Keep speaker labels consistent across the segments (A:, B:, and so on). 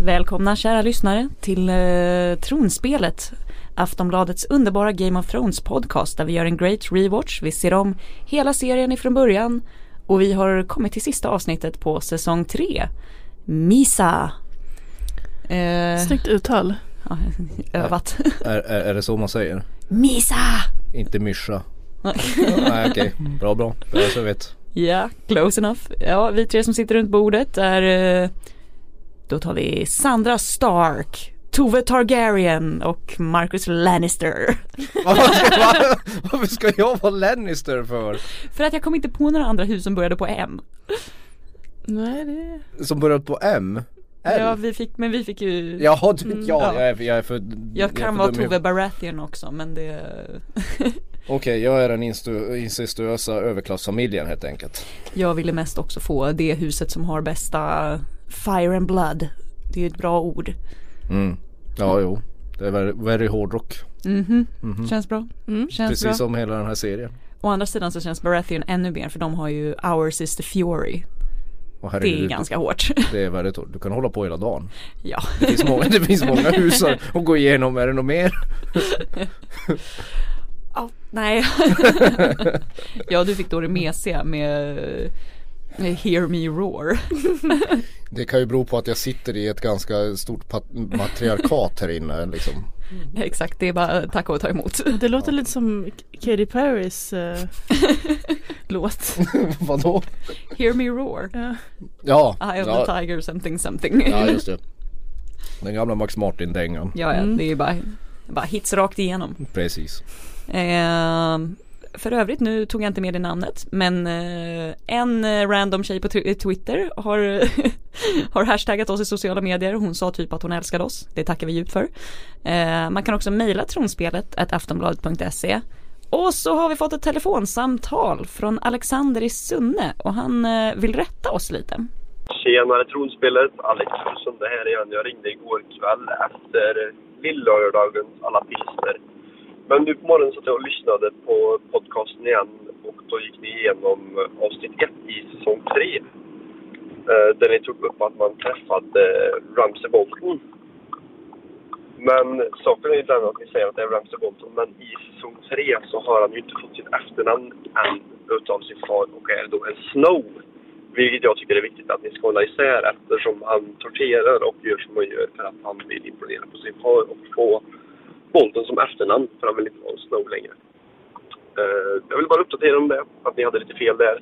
A: Välkomna kära lyssnare till eh, Tronspelet. Aftonbladets underbara Game of Thrones podcast där vi gör en great rewatch. Vi ser om hela serien ifrån början och vi har kommit till sista avsnittet på säsong 3. Misa. Eh,
B: Snyggt uttal.
A: ja, övat.
C: Är, är, är det så man säger?
A: Misa!
C: Inte myscha? Nej okej, bra bra. Det är så jag vet.
A: Ja, close enough. Ja, vi tre som sitter runt bordet är eh, Då tar vi Sandra Stark, Tove Targaryen och Marcus Lannister.
C: Varför ska, va? Varför ska jag vara Lannister för?
A: För att jag kom inte på några andra hus som började på M.
B: Nej det
C: Som börjar på M? L?
A: Ja, vi fick, men vi fick ju
C: Jaha, du,
B: Mm,
C: ja,
A: ja.
C: Jag, är, jag är för
A: Jag
C: är
A: kan
C: för
A: vara
C: dum i
A: Tove
C: huvudet.
A: Baratheon också men det
C: Okej, jag är den instu- incestuösa överklassfamiljen helt enkelt
A: Jag ville mest också få det huset som har bästa Fire and blood. Det är ju ett bra ord.
C: mm. Ja, jo Det är very, very hårdrock
A: Mhm,
C: Mhm.
A: känns bra.
B: Mm.
A: Känns
C: Precis
A: bra.
C: som hela den här serien
A: Å andra sidan så känns Baratheon ännu mer för de har ju Our Sister Fury.
C: Och
A: Det är
C: herregud,
A: ganska hårt.
C: det är väldigt hårt Du kan hålla på hela dagen
A: ja.
C: Det finns många, det finns många hus att att gå igenom, är det något mer?
A: Ja, nej. ja, du fick då det mesiga med, med Hear Me Roar.
D: Det kan ju bero på att jag sitter i ett ganska stort pat- matriarkat här inne liksom.
C: Mm.
A: Exakt, det är bara eh, tacka och ta emot.
B: Det låter lite som K- Katy Perrys eh, låt.
C: Vadå?
A: Hear Me Roar.
B: Ja.
C: Ja,
A: Eye of
C: ja,
A: the Tiger something something.
C: ja just det Den gamla Max Martin-dängan
A: Ja, ja,
B: Mm.
A: det är ju bara, bara hits rakt igenom.
C: Precis
A: Ehm, för övrigt, nu tog jag inte med det namnet, men eh, en eh, random tjej på tw- Twitter har, har hashtaggat oss i sociala medier. Hon sa typ att hon älskade oss. Det tackar vi djupt för. Ehm, man kan också mejla tronspelet at aftonbladet.se. Och så har vi fått ett telefonsamtal från Alexander i Sunne och han eh, vill rätta oss lite.
E: Tjenare tronspelet, Alex Olsson det här igen. Jag ringde igår kväll efter lillördagens alla pilsner. Men nu på morgonen satt jag och lyssnade på podcasten igen och då gick ni igenom eh, avsnitt 1 i säsong 3. Där ni tog upp att man träffade eh, Ramsey Bolton. Men saken är ju den att ni säger att det är Ramsey Bolton men i säsong 3 så har han ju inte fått sitt efternamn än utav sin far och är då en Snow. Vilket jag tycker är viktigt att ni ska hålla isär eftersom han torterar och gör som han gör för att han vill imponera på sin far och få Bolton som efternamn för han vill inte vara Snow längre. Eh, jag vill bara uppdatera om det, att ni hade lite fel där.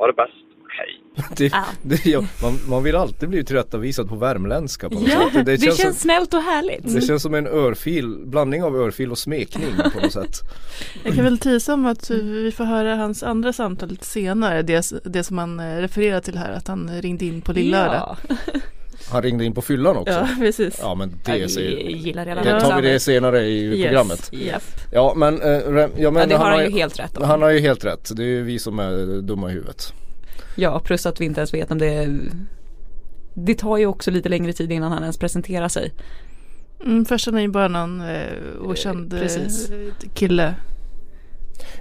E: Ha det bäst. Hej!
C: det,
A: Ah.
C: det, ja, man, man vill alltid bli tillrättavisad på värmländska på något
A: Ja,
C: sätt.
A: det, känns,
C: som,
A: snällt och härligt.
C: det känns som en örfil, blandning av örfil och smekning på något sätt
B: Jag kan väl tisa om att vi får höra hans andra samtal lite senare. Det, det som han eh, refererar till här, att han ringde in på lillördag.
A: Ja,
D: Han ringde in på fyllan också.
B: Ja,
D: Ja,
B: precis.
D: men
A: Ja,
D: det,
A: vi
D: säger,
A: gillar redan
D: det tar vi det
A: Alexander.
D: senare i
B: Yes.
D: programmet.
B: Japp.
D: Ja men, eh, Rem- ja, men
A: Ja, det har han
D: har
A: ju helt rätt om.
D: han har ju helt rätt. Det är ju vi som är dumma i huvudet.
A: Ja, plus att vi inte ens vet om det Det tar ju också lite längre tid innan han ens presenterar sig.
B: Mm, först är ju bara någon eh, okänd
A: Eh,
B: eh,
A: precis.
B: kille.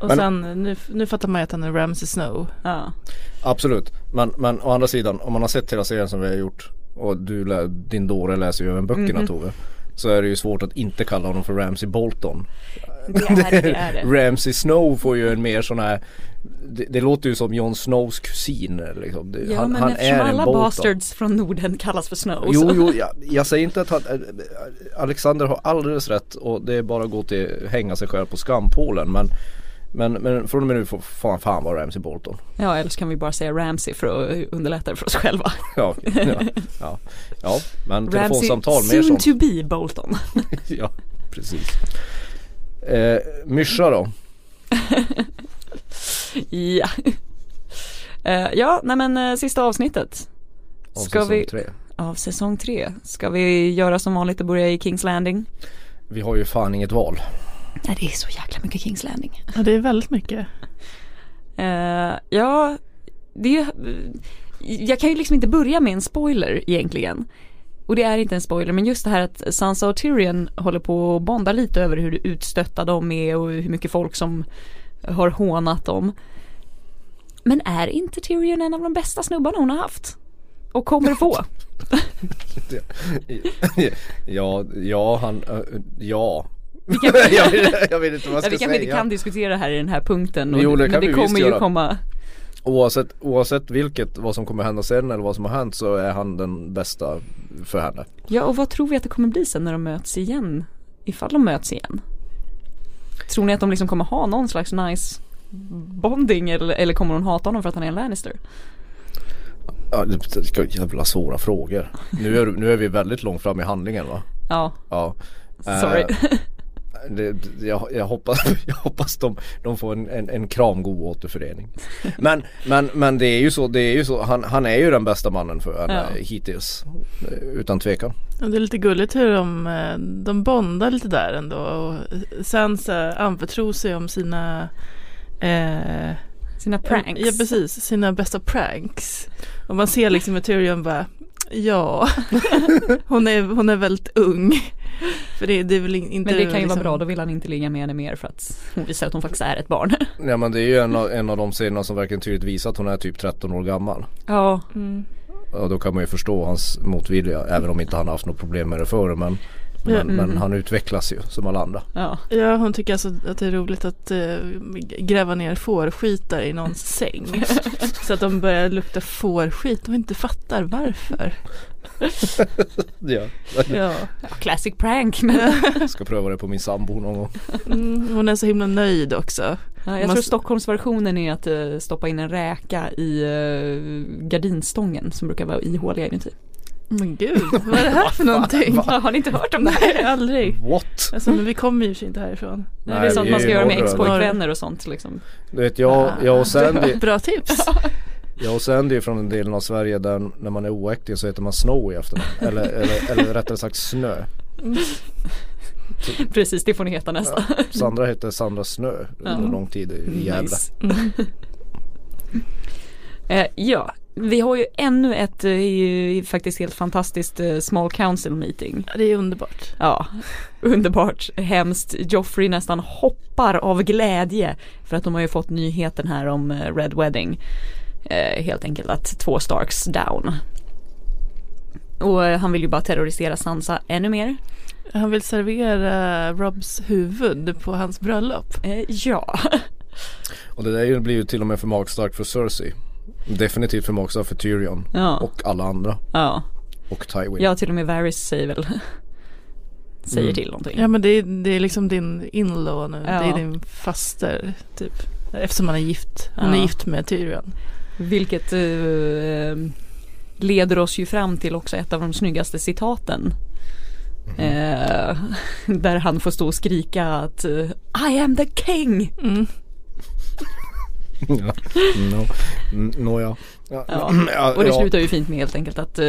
B: Och
D: Men-
B: sen eh, nu, nu fattar man ju att han är Ramsey Snow.
A: Ja,
D: Absolut. Men, men å andra sidan, om man har sett hela serien som vi har gjort och du, lä- din dåre läser ju även böckerna
A: Mhm.
D: Tove. Så är det ju svårt att inte kalla honom för Ramsey Bolton.
A: det är det. det, är det.
D: Ramsey Snow får ju en mer sån här det, det låter ju som Jon Snows kusin liksom. det,
A: Ja,
D: han,
A: men
D: han
A: eftersom
D: är en
A: alla
D: Bolton.
A: bastards från Norden kallas för Snow.
D: Jo,
A: så-
D: jo, jag, jag säger inte att han, eh, Alexander har alldeles rätt och det är bara att gå till hänga sig själv på skampålen men men, men från och med nu får fan, fan vara Ramsey Bolton.
A: Ja, eller så kan vi bara säga Ramsey för att underlätta det för oss själva.
D: Ja, ja, ja, ja men
A: Ramsey, typ.
D: telefonsamtal mer
A: soon
D: sånt.
A: to be Bolton.
D: Ja, precis. Eh, Myscha då?
A: ja. Eh, ja, nej men eh, sista avsnittet
D: Av
A: Ska
D: säsong
A: vi-
D: tre.
A: av säsong tre. Ska vi göra som vanligt och börja i Kings Landing?
D: Vi har ju fan inget val.
A: Nej, det är så jäkla mycket Kings Landing.
B: Ja, det är väldigt mycket.
A: Eh, ja, det är Jag kan ju liksom inte börja med en spoiler egentligen. Och det är inte en spoiler men just det här att Sansa och Tyrion håller på att bonda lite över hur utstötta de är och hur mycket folk som har hånat dem. Men är inte Tyrion en av de bästa snubbarna hon har haft? och kommer få.
D: Ja, ja han, eh, ja.
A: Vi kan-
D: jag, vet, jag vet inte vad jag ska
A: Ja, vi kanske
D: säga.
A: inte kan diskutera här i den här punkten. Och,
D: Jo, det
A: men
D: kan
A: det
D: vi
A: kommer
D: visst
A: ju
D: göra.
A: komma.
D: Oavsett, oavsett vilket, vad som kommer hända sen eller vad som har hänt så är han den bästa för henne.
A: Ja, och vad tror vi att det kommer bli sen när de möts igen? Ifall de möts igen. Tror ni att de liksom kommer ha någon slags nice bonding eller, eller kommer hon hata honom för att han är en Lannister?
D: Ja, det- det ska- jävla svåra frågor. Nu är, nu är vi väldigt långt fram i handlingen va?
A: Ja,
D: Ja. Eh,
A: sorry.
D: Det, jag, jag hoppas, jag hoppas de, de får en, en, en kramgod återförening. Men, men, men det är ju så, det är ju så han, han är ju den bästa mannen för henne
A: Ja.
D: hittills. eh, Utan tvekan.
B: Ja, Det är lite gulligt hur de, eh, de bondar lite där ändå och Sansa anförtror sig om sina eh,
A: Sina pranks.
B: Ja precis, sina bästa pranks. Och man ser liksom hur Tyrion bara Ja, hon är, hon är väldigt ung. För det, det är väl in- inte
A: Men det kan ju
B: liksom-
A: vara bra, då vill han inte ligga med henne mer för att hon visar att hon faktiskt är ett barn.
D: Ja men det är ju en av, en av de scenerna som verkligen tydligt visar att hon är typ 13 år gammal.
A: Ja,
B: Mm.
D: Och då kan man ju förstå hans motvilja även om inte han har haft något problem med det förr. Men, men,
B: Ja,
A: Mm.
D: men han utvecklas ju som alla andra.
A: ja.
B: Ja, hon tycker alltså att det är roligt att eh, gräva ner fårskitar i någons säng. Så att de börjar lukta fårskit och inte fattar varför.
D: Ja.
B: Ja.
A: ja classic prank. Men
D: Ska pröva det på min sambo någon gång.
B: Mm, hon är så himla nöjd också.
A: ja, jag
B: Man-
A: tror Stockholmsversionen är att eh, stoppa in en räka i eh, gardinstången som brukar vara ihåliga inuti.
B: Men gud, vad är det här för någonting?
A: Ja, har ni inte hört om det här?
B: Nej, aldrig.
D: What?
B: Alltså, men vi kommer ju i och för sig inte härifrån.
A: Nej, det är sånt
D: vi
A: man ska
D: ju
A: göra med
D: norröna.
A: ex-pojkvänner och sånt liksom.
D: Du vet jag, jag och Sandy,
B: Bra tips.
D: jag och Sandy är från den delen av Sverige där när man är oäkting så heter man Snow i efternamn. Eller, eller, eller rättare sagt Snö.
A: Precis, det får ni heta nästa.
D: Sandra hette Sandra Snö under
A: Ja.
D: lång tid i Gävle.
A: Nice. Mm. Eh, ja, vi har ju ännu ett eh, faktiskt helt fantastiskt eh, small council meeting.
B: Det är underbart.
A: Ja, underbart, hemskt. Joffrey nästan hoppar av glädje för att de har ju fått nyheten här om eh, Red Wedding. Eh, helt enkelt att två Starks down. Och eh, han vill ju bara terrorisera Sansa ännu mer.
B: Han vill servera Robs huvud på hans bröllop.
A: Eh, ja.
D: Och det där ju- blir ju till och med för magstarkt för Cersei. Definitivt för magstarkt för Tyrion.
A: ja.
D: Och alla andra.
A: Ja,
D: Och Tywin.
A: ja till och med Varys säger väl Säger
D: Mm.
A: till någonting
B: Ja men det är, det är liksom din inlaw nu.
A: Ja.
B: Det är din faster typ. Eftersom han är gift. Hon
A: Ja.
B: är gift med Tyrion.
A: Vilket eh, leder oss ju fram till också ett av de snyggaste citaten
D: Mm-hmm.
A: eh, Där han får stå och skrika att eh, I am the king
B: Mm.
D: Ja. No. Mm, Nåja.
A: Ja,
D: Mm, Ja,
A: Och det
D: ja.
A: slutar ju fint med helt enkelt att eh,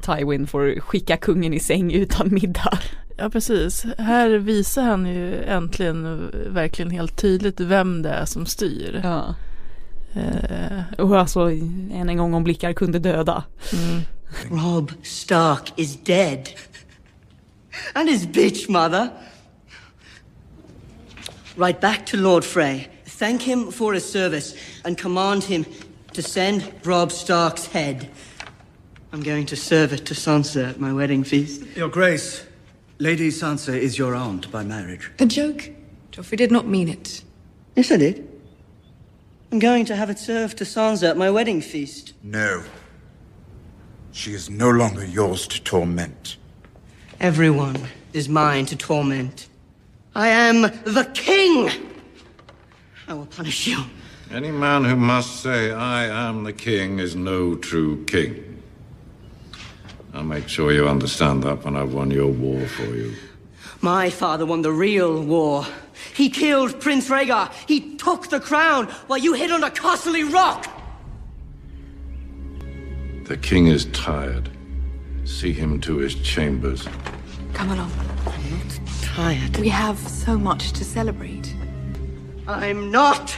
A: Tywin får skicka kungen i säng utan middag
B: Ja precis. Här visar han ju äntligen eh, verkligen helt tydligt vem det är som styr.
A: ja.
B: Eh,
A: Och alltså än en gång om blickar kunde döda
F: Rob Stark is dead. And his bitch mother. Write back to Lord Frey. Thank him for his service and command him to send Rob Stark's head. I'm going to serve it to Sansa at my wedding feast.
G: Your Grace, Lady Sansa is your aunt by marriage.
H: A joke? Joffrey did not mean it.
F: Yes, I did. I'm going to have it served to Sansa at my wedding feast.
I: No. She is no longer yours to torment.
F: Everyone is mine to torment. I am the king! I will punish you.
J: Any man who must say, I am the king, is no true king. I'll make sure you understand that when I've won your war for you.
F: My father won the real war. He killed Prince Rhaegar. He took the crown while you hid on a costly rock.
J: The king is tired. See him to his chambers.
H: Come along.
F: Tired.
H: We have so much to celebrate.
F: I'm not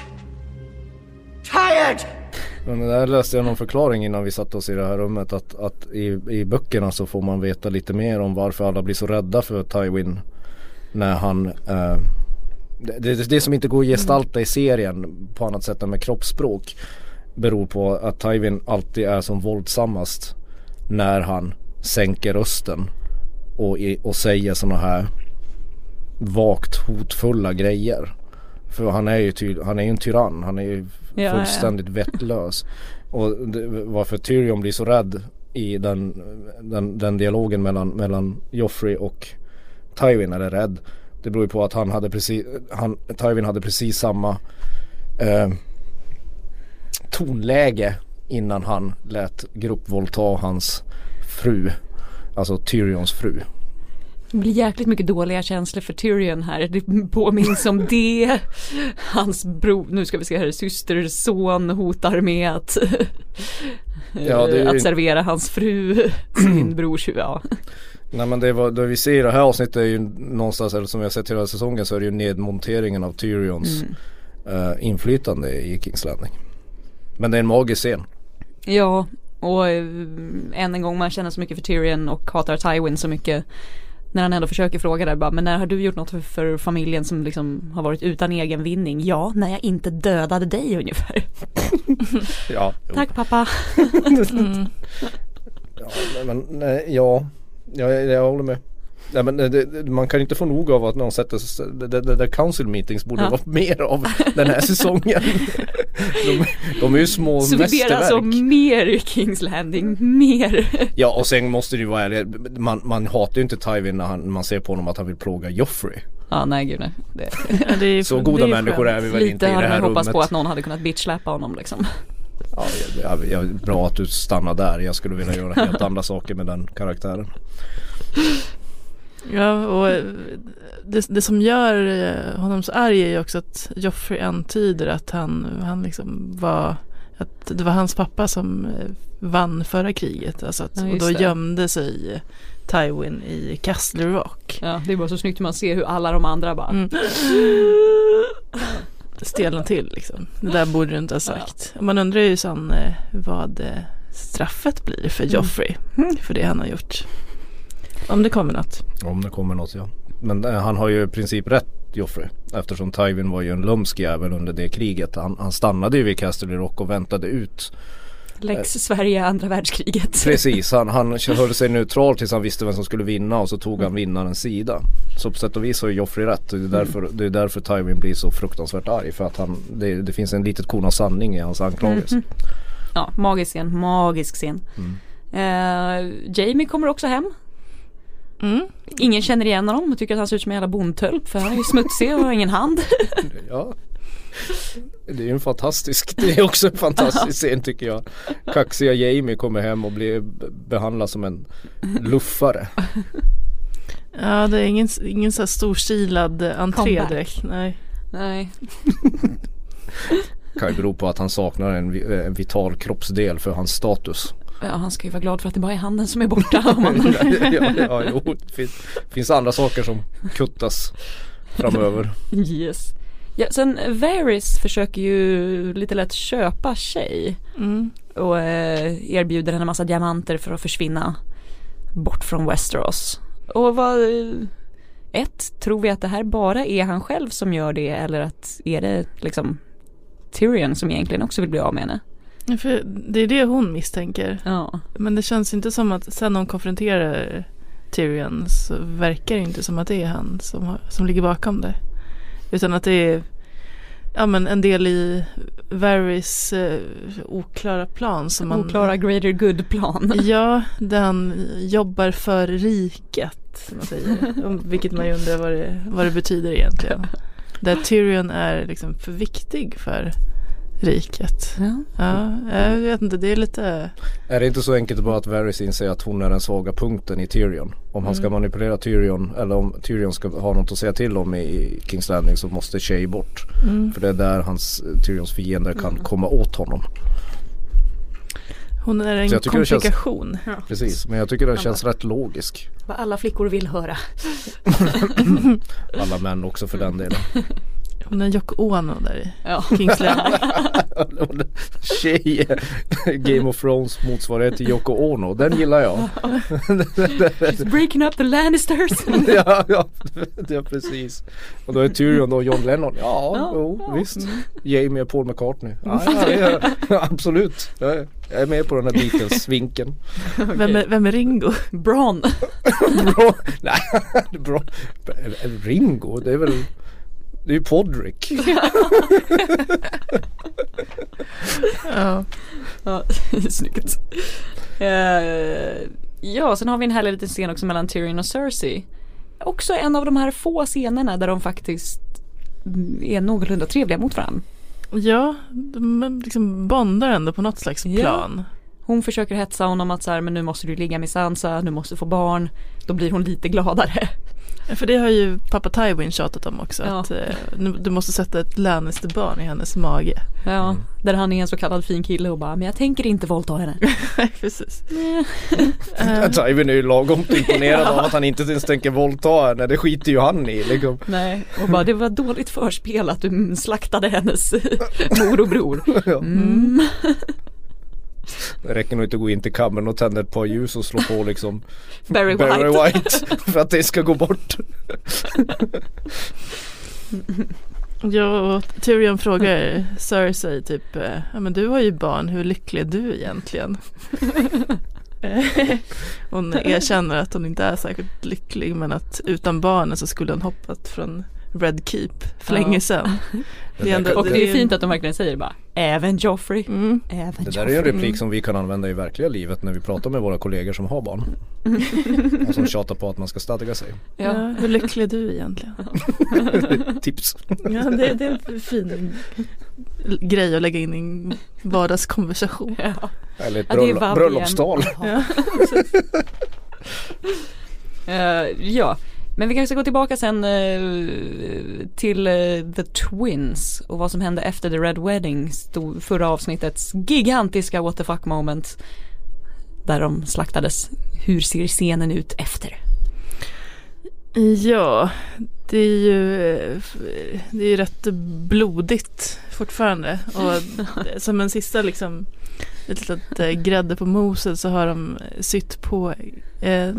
F: tired.
D: Men det där läste jag någon förklaring innan vi satte oss i det här rummet att, att i, i böckerna så får man veta lite mer om varför alla blir så rädda för Tywin när han eh, det, det, det som inte går att gestalta i serien på annat sätt än med kroppsspråk beror på att Tywin alltid är som våldsammast när han sänker rösten och, i- och säger sådana här vagt hotfulla grejer. För han är ju, ty- han är ju en tyrann, han är ju
A: ja.
D: fullständigt vettlös. Och det, varför Tyrion blir så rädd i den, den, den dialogen mellan, mellan Joffrey och Tywin eller rädd. Det beror ju på att han hade precis, han, Tywin hade precis samma eh, tonläge innan han lät gruppvåldta hans fru. Alltså Tyrions fru.
A: Det blir jäkligt mycket dåliga känslor för Tyrion här. Det påminns om det. Hans bror, nu ska vi se här, systers son hotar med att,
D: Ja, det är ju-
A: att servera hans fru sin brors huvud. Ja.
D: Nej men det, var, det vi ser i det här avsnittet är ju någonstans, eller som vi har sett hela säsongen så är det ju nedmonteringen av Tyrions eh, inflytande i Kings Landing. Men det är en magisk scen.
A: ja, och eh, än en gång man känner så mycket för Tyrion och hatar Tywin så mycket. När han ändå försöker fråga där bara, men när har du gjort något för, för familjen som liksom har varit utan egen vinning? Ja, när jag inte dödade dig ungefär.
D: Ja, jo.
A: Tack pappa.
D: Ja, nej, men nej, ja, ja jag, jag håller med. Nej, men eh, det, det, man kan inte få nog av att någon sätter sig, det, det, det där council meetings borde
A: Ja.
D: vara mer av den här säsongen. De, de är ju små
A: Så vi ber
D: mästerverk.
A: alltså om mer i Kings Landing, mer.
D: Ja och sen måste det ju vara ärlig, man, man hatar ju inte Tywin när han, man ser på honom att han vill plåga Joffrey.
A: Ja nej gud nej. Det,
B: Ja, det är,
D: Så
B: det
D: goda
B: är
D: människor
B: skönt.
D: är vi väl inte
A: lite
D: i det
A: hade
D: här
A: man hoppats
D: rummet.
A: på att någon hade kunnat bitchsläppa honom liksom.
D: Ja, jag, jag, jag, bra att du stannar där, jag skulle vilja göra helt andra saker med den karaktären.
B: Ja, och eh, det, det som gör eh, honom så arg är ju också att Joffrey antyder att han, han liksom var, att det var hans pappa som eh, vann förra kriget. Alltså att,
A: Ja,
B: och
A: just
B: då
A: det.
B: gömde sig Tywin i Castle Rock.
A: Ja det är bara så snyggt hur man ser hur alla de andra bara
B: Mm. Stelna till liksom. Det där borde du inte ha sagt. Man undrar ju sen eh, vad eh, straffet blir
A: Mm.
B: för Joffrey. För det han har gjort. Om det kommer något.
D: Om det kommer något ja. Men eh, han har ju i princip rätt Joffrey. Eftersom Tywin var ju en lömsk jävel under det kriget. Han, han stannade ju vid Casterly Rock och väntade ut.
A: Lex Sverige andra världskriget.
D: Precis, han, han höll sig neutral tills han visste vem som skulle vinna och så tog han vinnarens sida. Så på sätt och vis har ju Joffrey rätt. Det är därför, det är därför Tywin blir så fruktansvärt arg. För att han, det, det finns en litet korn av sanning i hans anklagelse.
A: Ja magisk scen, magisk scen.
D: Mm.
A: Eh, Jamie kommer också hem.
B: Mm.
A: Ingen känner igen honom och tycker att han ser ut som en jävla bondtölp för han är ju smutsig och har ingen hand.
D: Ja. Det är ju en fantastisk, det är också en fantastisk scen tycker jag. Kaxiga Jamie kommer hem och blir behandlad som en luffare.
B: Ja, det är ingen, ingen så här storstilad eh, entré
A: Comeback.
B: direkt. Nej.
A: Nej.
D: Kan ju bero på att han saknar en, vi- en vital kroppsdel för hans status.
A: Ja han ska ju vara glad för att det bara är handen som är borta. Om han...
D: ja, ja, jo, det finns, finns andra saker som kuttas framöver.
A: Yes. Ja, sen Varys försöker ju lite lätt köpa tjej
B: Mm.
A: och eh, erbjuder henne massa diamanter för att försvinna bort från Westeros. Och vad, eh, ett, tror vi att det här bara är han själv som gör det eller att är det liksom Tyrion som egentligen också vill bli av med henne?
B: Ja, För det är det hon misstänker.
A: Ja.
B: Men det känns inte som att sen hon konfronterar Tyrion så verkar det inte som att det är han som, har, som ligger bakom det. Utan att det är ja, men en del i Varys eh, oklara plan. Som man,
A: Oklara greater good-plan.
B: Ja, där han jobbar för riket. Som man säger. Om- Vilket man ju undrar vad det, vad det betyder egentligen. Där Tyrion är liksom för viktig för riket.
A: Ja.
B: Ja, jag vet inte, det är lite...
D: Är det inte så enkelt bara att Varys inser att hon är den svaga punkten i Tyrion? Om han ska manipulera Tyrion eller om Tyrion ska ha något att säga till om i- i Kings Landing så måste Shay bort.
A: Mm.
D: För det är där hans, Tyrions fiender kan komma åt honom.
B: Hon är en
D: Så jag tycker det känns-
B: komplikation.
D: Precis, men jag tycker det känns rätt logisk.
A: Vad alla flickor vill höra.
D: Alla män också för den delen.
B: Hon är Yoko Ono där i
A: Ja.
B: Kings Landing.
D: Tjej, eh, Game of Thrones motsvarighet till Yoko Ono, den gillar jag.
A: She's breaking up the Lannisters.
D: ja, ja, ja, precis. Och då är Tyrion då John Lennon. Ja,
A: Ja,
D: jo, visst. Jamie och Paul McCartney. Ja, ja, ja, ja, absolut. Ja, ja. Jag är med på den här Beatles-vinkeln.
B: Vem, är, vem är Ringo?
A: Bron.
D: Bra. Nej, bra. Ringo, det är väl det är ju Podrick.
B: Ja.
A: Ja, snyggt. Eh, ja, sen har vi en härlig liten scen också mellan Tyrion och Cersei. Också en av de här få scenerna där de faktiskt mm, är någorlunda trevliga mot varandra.
B: ja, de liksom bondar ändå på något slags
A: Ja.
B: plan.
A: Hon försöker hetsa honom att så här, men nu måste du ligga med Sansa, nu måste du få barn. Då blir hon lite gladare.
B: För det har ju pappa Tywin tjatat om också.
A: Ja.
B: Att eh, nu- du måste sätta ett Lannister-barn i hennes mage.
A: Ja, där han är en så kallad fin kille och bara, men jag tänker inte våldta henne.
B: Nej, precis.
A: Eh.
D: Tywin är ju lagom imponerad av att han inte ens tänker våldta henne. Det skiter ju han i liksom.
A: Nej, och bara, det var dåligt förspel att du slaktade hennes mor och bror.
D: Ja.
A: Mm.
D: Det räcker nog inte att gå in till kammaren och tända ett par ljus och slå på liksom
A: Barry White.
D: Barry White för att det ska gå bort.
B: Ja, och Tyrion frågar Cersei typ, eh, ja men du har ju barn, hur lycklig är du egentligen? Eh, hon erkänner att hon inte är särskilt lycklig men att utan barnen så skulle hon hoppat från Red Keep för
A: Ja.
B: länge sedan. Det är ändå-
A: Och det är fint att de verkligen säger bara, även Joffrey.
B: Mm.
A: Även
D: Det där är ju en
A: Joffrey.
D: replik som vi kan använda i verkliga livet när vi pratar med våra kollegor som har barn. Och som tjatar på att man ska stadga sig.
B: Ja.
A: Ja.
B: hur lycklig är du egentligen?
D: Tips.
B: Ja, det, det är en fin grej att lägga in i en vardagskonversation.
A: Ja.
D: Eller ett
A: Ja, det är
D: bröllop,
A: vabb
D: bröllopstal.
A: Ja. Eh, ja, men vi kanske ska gå tillbaka sen eh, till eh, The Twins och vad som hände efter The Red Wedding, stod förra avsnittets gigantiska what the fuck moment. Där de slaktades. Hur ser scenen ut efter?
B: Ja, det är ju, eh, f- det är ju rätt blodigt fortfarande. Och som en sista liksom, ett litet eh, grädde på moset så har de sytt på eh,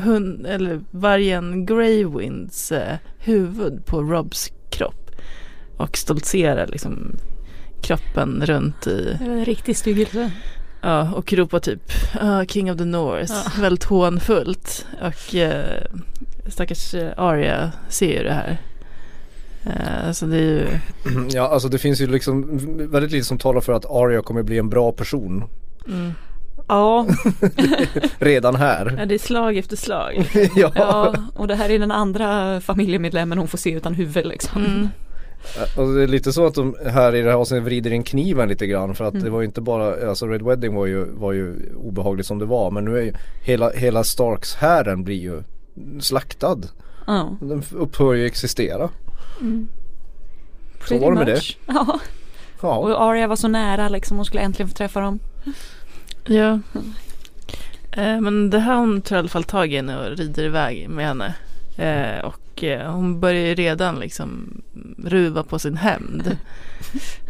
B: hund, eller vargen Greywinds eh, huvud på Robs kropp. Och stoltserar liksom kroppen runt i
A: En riktig styggelse.
B: Ja, och ropar typ "Ah, King of the North,
A: Ja.
B: väldigt hånfullt. Och eh, stackars eh, Arya ser ju det här. Eh, så det är ju,
D: Ja, alltså det finns ju liksom väldigt lite som talar för att Arya kommer bli en bra person
B: mm.
A: Ja,
D: redan här.
B: ja, det är slag efter slag.
D: ja,
A: ja, och det här är den andra familjemedlemmen hon får se utan huvud liksom.
B: Mm.
D: och Eh, alltså, det är lite så att de här i det här avsnittet vrider in kniven lite grann för att
B: Mm.
D: det var ju inte bara, alltså Red Wedding var ju, var ju obehagligt som det var men nu är ju hela, hela Starks hären blir ju slaktad.
A: Ja.
D: Den upphör ju existera. Så var det med det.
A: Ja.
D: Ja,
A: Och Arya var så nära liksom, hon skulle äntligen få träffa dem.
B: Ja. Eh, men det här hon tar i alla fall tag i henne och rider iväg med henne. Eh, och eh, hon börjar ju redan liksom ruva på sin hämnd.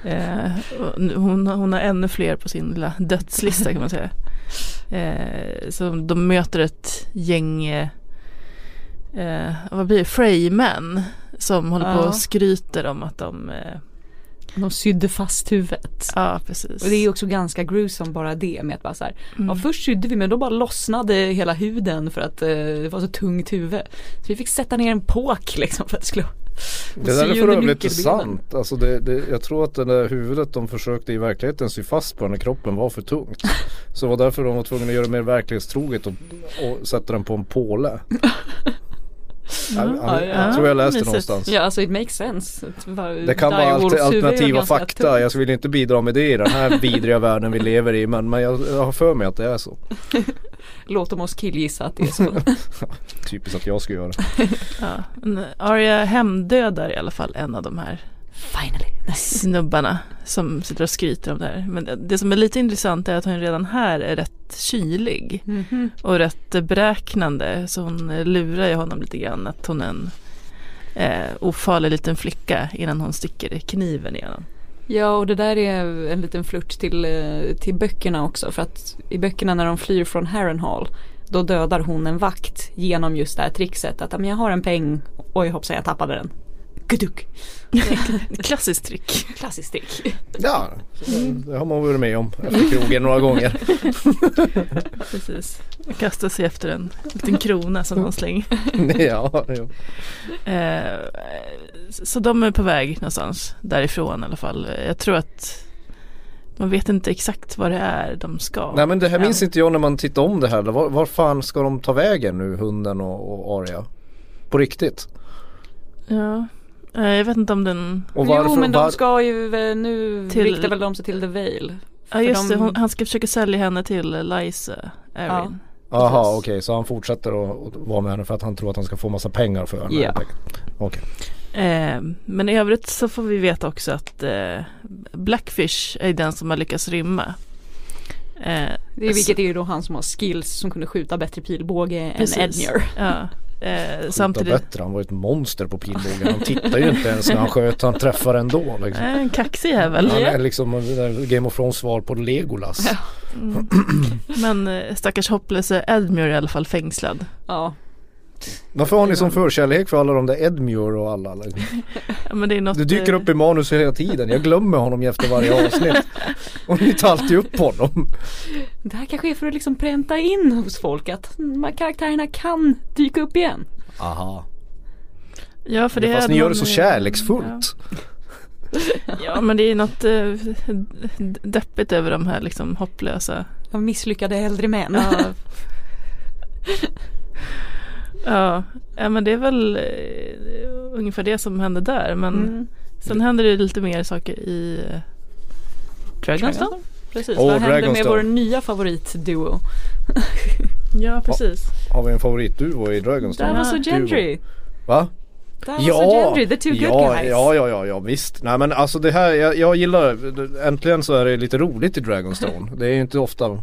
B: Eh, och nu- hon, hon har ännu fler på sin lilla dödslista kan man säga. Eh, så de möter ett gäng, eh, eh, vad blir det, Freymän. Som håller på
A: Ja.
B: och skryter om att de, eh,
A: De sydde fast huvudet.
B: ja precis.
A: Och det är ju också ganska gruesome bara det med att bara så här,
B: Mm.
A: ja först sydde vi men då bara lossnade hela huden för att eh, det var så tungt huvud. Så vi fick sätta ner en påk liksom för att det skulle
D: det där är
A: sy
D: för
A: under
D: övrigt
A: nyckelbenen.
D: sant. Alltså det, det, jag tror att det där huvudet de försökte i verkligheten sy fast på när kroppen var för tungt. Så det var därför de var tvungna att göra det mer verklighetstroget och, och sätta den på en påle. Jag, jag, jag
B: ja.
D: tror jag läste
B: Mysigt.
D: någonstans.
A: Ja alltså it makes sense.
D: Det kan vara alter- alternativa fakta. Jag vill inte bidra med det i den här vidriga världen vi lever i. Men, men jag, jag har för mig att det är så.
A: Låt dem oss killgissa att det är så.
D: Typiskt att jag ska göra.
B: Ja. Men Arya hemdödar i alla fall en av de här
A: Finally. Nice.
B: snubbarna som sitter och skryter om det här. Men det- det som är lite intressant är att hon redan här är rätt kylig och rätt beräknande. Så hon lurar ju honom lite grann att hon är en, eh, ofarlig liten flicka innan hon sticker kniven igenom.
A: Ja och det där är en liten flört till, eh, till böckerna också för att i böckerna när de flyr från Harrenhal då dödar hon en vakt genom just det här trickset att "Ah, men jag har en peng, oj hoppsan jag tappade den. Guduk.
B: Klassiskt trick.
A: Klassiskt trick.
D: Ja, det har man varit med om efter krogen några gånger.
B: Precis. Kastar sig efter en liten krona som hon slänger.
D: ja, jo.
B: Eh, så de är på väg någonstans därifrån i alla fall. Jag tror att man vet inte exakt vad det är de ska.
D: Nej men det här minns
B: Än.
D: inte jag när man tittar om det här. Var, var fan ska de ta vägen nu, hunden och, och Aria? På riktigt.
B: Ja. Eh, Jag vet inte om den...
D: Och
A: jo men
D: var-
A: de ska ju, eh, nu
B: Till-
A: riktar väl de sig till The Vale.
B: Ja
A: För
B: just det,
A: de-
B: hon, han ska försöka sälja henne till eh, Liza Erin.
D: Aha, okej så han fortsätter att, att vara med henne för att han tror att han ska få massa pengar för henne.
A: Ja.
D: helt enkelt. Okej.
B: Eh, men i övrigt så får vi veta också att eh, Blackfish är den som har lyckats rymma. Eh,
A: Det är, vilket är ju då han som har skills som kunde skjuta bättre pilbåge
B: precis.
A: än Edmure.
B: Ja. Eh,
D: Samtidigt...
B: samtidigt,
D: bättre, han var ett monster på pilbågen. Han tittar ju inte ens när han sköt, han träffar ändå. Liksom.
B: eh, en kaxig jävel.
D: Han är liksom eh, Game of Thrones svar på Legolas.
B: Mm. Men eh, stackars hopplöse Edmure är i alla fall fängslad.
A: Ja.
D: Varför har ni som förkärlek för alla de där Edmure och alla? Liksom?
B: Ja, men det är något,
D: Det dyker
B: eh,
D: upp i manus hela tiden. Jag glömmer honom efter varje avsnitt. Och ni tar alltid upp honom.
A: Det här kanske är för att liksom pränta in hos folk att de här karaktärerna kan dyka upp igen.
D: Aha.
B: Ja, för det
D: Fast
B: är
D: ni gör
B: någon-
D: det så kärleksfullt.
B: Ja, ja men det är något eh, d- deppigt över de här liksom hopplösa.
A: Av misslyckade äldre män.
B: Ja. ja, ja, men det är väl eh, ungefär det som hände där. Men
A: Mm.
B: sen händer det lite mer saker i eh, Dragonstone.
A: Precis,
D: Åh,
A: vad händer med
D: Dragonstone.
A: vår nya favoritduo?
B: Ja, precis.
D: Har vi en favoritduo i Dragonstone?
A: Davos och Gendry.
D: Va?
A: Davos och Gendry, the two good
D: ja,
A: guys.
D: ja, ja, ja, ja, visst. Nej men alltså det här, jag, jag gillar, äntligen så är det lite roligt i Dragonstone. det är ju inte ofta,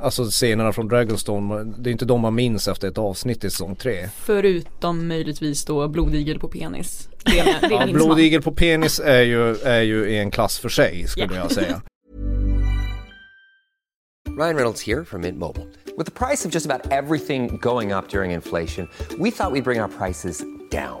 D: alltså scenerna från Dragonstone, det är inte de man minns efter ett avsnitt i säsong tre.
A: Förutom möjligtvis då blodigel på penis. Det, är- det
D: Ja,
A: minns man.
D: blodigel på penis är ju, är ju i en klass för sig skulle jag säga.
K: Ryan Reynolds here from Mint Mobile. With the price of just about everything going up during inflation, we thought we'd bring our prices down.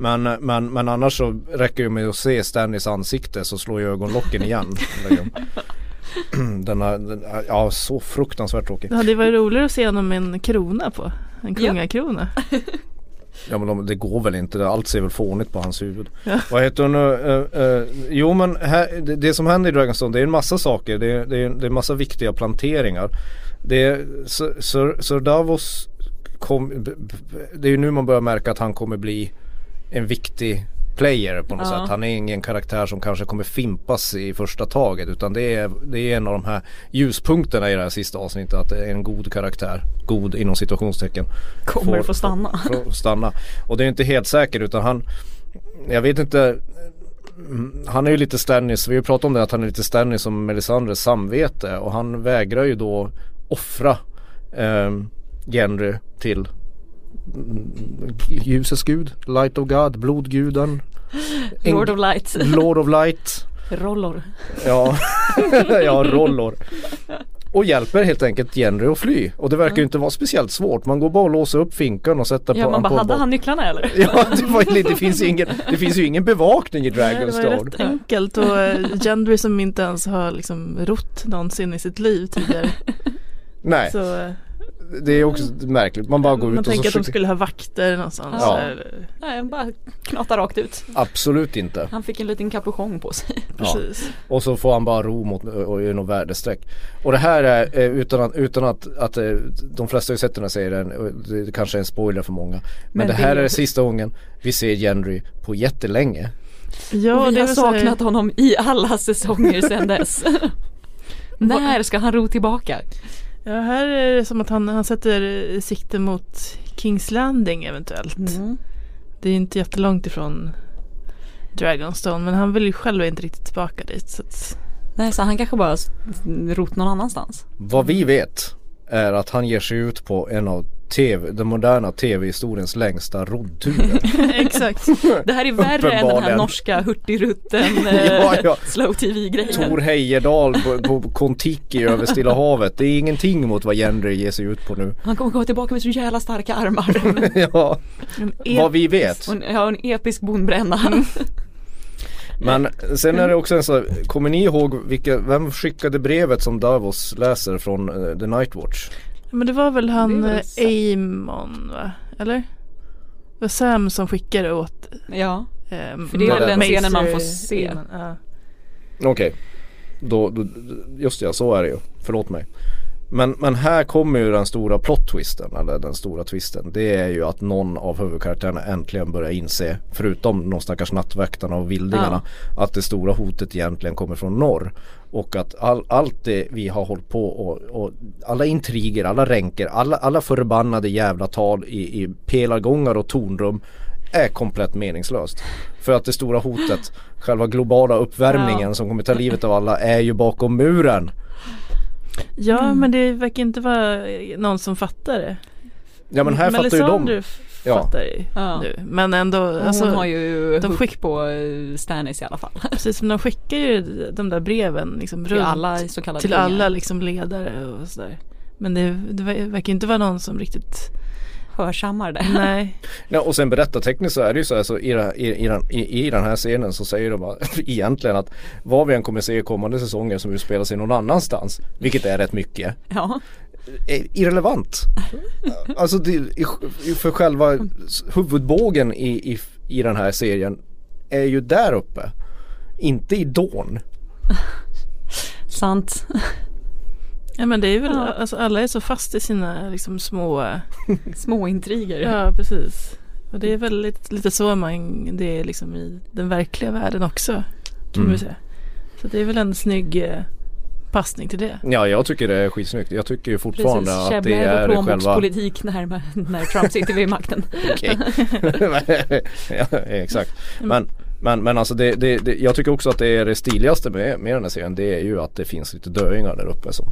D: Men, men, men annars så räcker ju med att se Stanleys ansikte så slår ju ögonlocken igen. Liksom. den här, den, ja så fruktansvärt tråkig.
B: Det hade ju varit roligare att se honom med en krona på. En
A: Ja.
B: kungakrona.
D: Ja men de, det går väl inte, allt ser väl fånigt på hans huvud. Vad heter hon nu? Eh, eh, jo men här, det, det som händer i Dragonstone det är en massa saker, det, är- det, är- det är en massa viktiga planteringar. Det är, Sir- Sir, Sir Davos kom, b- b- det är ju nu man börjar märka att han kommer bli en viktig player på något
L: Ja.
D: sätt. Han är ingen karaktär som kanske kommer fimpas i första taget utan det är, det är en av de här ljuspunkterna i det här sista avsnittet att det är en god karaktär, god inom situationstecken
A: Kommer få stanna.
D: får- får stanna. Och det är inte helt säkert utan han, jag vet inte, mm, han är ju lite Stannis, vi har ju pratat om det att han är lite Stannis som Melisandres samvete och han vägrar ju då offra eh, Gendry till mm, ljusets gud, light of god, blodguden.
A: Lord of Light.
D: Lord of light.
A: Rollor.
D: Ja, ja rollor. Och hjälper helt enkelt Jenry att fly. Och det verkar ju inte vara speciellt svårt. Man går bara och låser upp finkan och sätter
A: Ja
D: på
A: man
D: på
A: bara,
D: en
A: hade
D: box.
A: han nycklarna eller?
D: Ja, det, var, ju lite- det, finns ju ingen, det finns ju ingen bevakning i
B: Nej, det var ju
D: Dragonstone.
B: rätt enkelt och eh, Gendry som inte ens har liksom rott någonsin i sitt liv tidigare.
D: Nej,
B: Så eh,
D: det är också märkligt. Man bara går
B: man
D: ut och så
B: tänker att de
D: försöker...
B: skulle ha vakter någonstans.
D: Ja.
B: Eller,
A: Nej, han bara knatar rakt ut.
D: Absolut inte.
A: Han fick en liten kapuschong på sig.
D: Ja. Och så får han bara ro mot och gör något värdestreck. Och det här är eh, utan att, utan att, att eh, de flesta har ju sett den här serien, och det kanske är en spoiler för många. Men,
A: Men
D: det
A: det
D: här
A: är-
D: är sista gången vi ser Gendry på jättelänge.
B: Ja,
A: och vi
B: det
A: har
B: var så här-
A: saknat honom i alla säsonger sedan dess. När ska han ro tillbaka?
B: Ja, här är det som att han, han sätter eh, sikte mot Kings Landing eventuellt.
A: Mm.
B: Det är inte jättelångt ifrån Dragonstone men han vill ju själv inte riktigt tillbaka dit. Så att...
A: Nej, så han kanske bara s- rot någon annanstans.
D: Vad
B: Mm.
D: vi vet är att han ger sig ut på en av TV, den moderna tv-historiens längsta roddturer.
A: Exakt. Det här är värre än den här
D: Uppenbarligen.
A: norska hurtigrutten eh,
D: Ja, ja.
A: slow tv-grejen.
D: Tor Heyerdahl på- på Kontiki över Stilla havet. Det är ingenting mot vad Jendre ger sig ut på nu.
A: Han kommer komma tillbaka med så jävla starka armar.
D: ja, vad vi Mm. vet.
A: Och en, ja, en episk bonbränna.
D: Men sen är det också en sån här, kommer ni ihåg vilka, vem skickade brevet som Davos läser från eh, The Night Watch?
B: Men det var väl han
A: Det är väl
B: eh, Amon va? Eller? Det var Sam som skickade åt
A: Ja,
B: eh,
A: för det är
B: Ma-
A: den scenen man
B: Maester
A: får se.
B: Amon, ja.
D: Okej, då, då, just ja så är det ju, förlåt mig. Men, men här kommer ju den stora plot-twisten, eller den stora twisten. Det är ju att någon av huvudkaraktärerna äntligen börjar inse, förutom de stackars nattväktarna och vildingarna, att det stora hotet egentligen kommer från norr. Och att all, allt det vi har hållit på och, och alla intriger, alla ränker, alla, alla förbannade jävla tal i, i pelargångar och tornrum är komplett meningslöst. För att det stora hotet, själva globala uppvärmningen
B: Ja.
D: som kommer ta livet av alla är ju bakom muren.
B: Ja
A: Mm.
B: men det verkar inte vara eh, någon som fattar det.
D: Ja men här fattar ju
B: Mm, Melisandre
D: de.
B: f-
D: Ja.
B: fattar ju
A: Ja.
B: nu. Men ändå. alltså,
A: Hon har ju
B: de
A: de
B: skick-
A: skick på eh, Stannis i alla fall.
B: Precis men de skickar ju de där breven liksom
A: Till
B: runt.
A: alla så kallade
B: Till
A: kungar.
B: alla liksom ledare och sådär. Men det, det ver- verkar ju inte vara någon som riktigt
A: Hörsammar det.
D: Mm.
B: Nej.
D: Ja, och sen berättartekniskt så är det ju så här så i, det- i, i, den- i, i den här scenen så säger de att- egentligen att vad vi än kommer se i kommande säsonger som utspelar sig någon annanstans, vilket är rätt mycket,
A: Ja.
D: är irrelevant. Alltså det, i- för själva huvudbågen i, i, i den här serien är ju där uppe, inte i Dawn.
A: Sant.
B: Ja men det är väl, alltså alla är så fast i sina liksom små
A: Små intriger.
B: Ja precis. Och det är väl lite, lite så man, det är liksom i den verkliga världen också. Kan man
D: Mm.
B: väl säga. Så det är väl en snygg eh, passning till det.
D: Ja, jag tycker det är skitsnyggt. Jag tycker ju fortfarande
A: Precis,
D: att det
A: käbblar
D: är
A: över
D: själva...
A: plånbokspolitik när, när Trump sitter vid makten.
D: Okej. ja, exakt. Men, men, men alltså det, det, det, jag tycker också att det är det stiligaste med, med den här serien det är ju att det finns lite döingar där uppe som,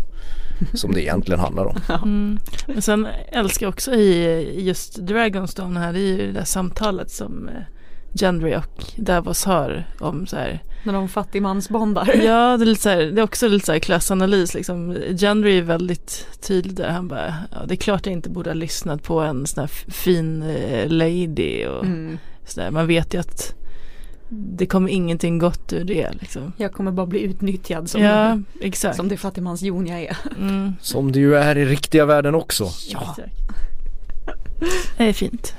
D: som det egentligen handlar om.
B: Mm. Men sen älskar jag också i i just Dragonstone här, det är ju det där samtalet som eh, Gendry och Davos har om så här.
A: När de fattigmansbondar.
B: Ja, det är, lite så här, det är också lite så här klassanalys liksom. Gendry är väldigt tydlig där, han bara, ja, det är klart jag inte borde ha lyssnat på en sån här f- fin eh, lady och
A: Mm.
B: så där. Man vet ju att det kommer ingenting gott ur det liksom.
A: Jag kommer bara bli utnyttjad som,
B: Ja, exakt.
A: som det fattigmansjon jag är.
B: Mm.
D: Som det ju är i riktiga världen också.
B: Ja. Det är fint.